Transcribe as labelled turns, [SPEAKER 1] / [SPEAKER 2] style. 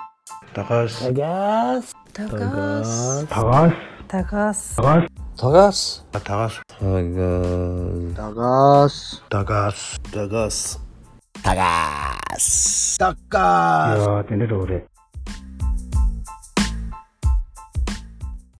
[SPEAKER 1] 高橋
[SPEAKER 2] 高橋
[SPEAKER 3] 高橋高
[SPEAKER 2] 高
[SPEAKER 1] 高橋
[SPEAKER 2] 橋
[SPEAKER 3] 高橋
[SPEAKER 2] 高橋高橋
[SPEAKER 3] 高
[SPEAKER 2] 아,
[SPEAKER 3] 橋高
[SPEAKER 2] 高
[SPEAKER 3] 橋
[SPEAKER 2] 橋
[SPEAKER 3] 高橋
[SPEAKER 2] いやー出れる俺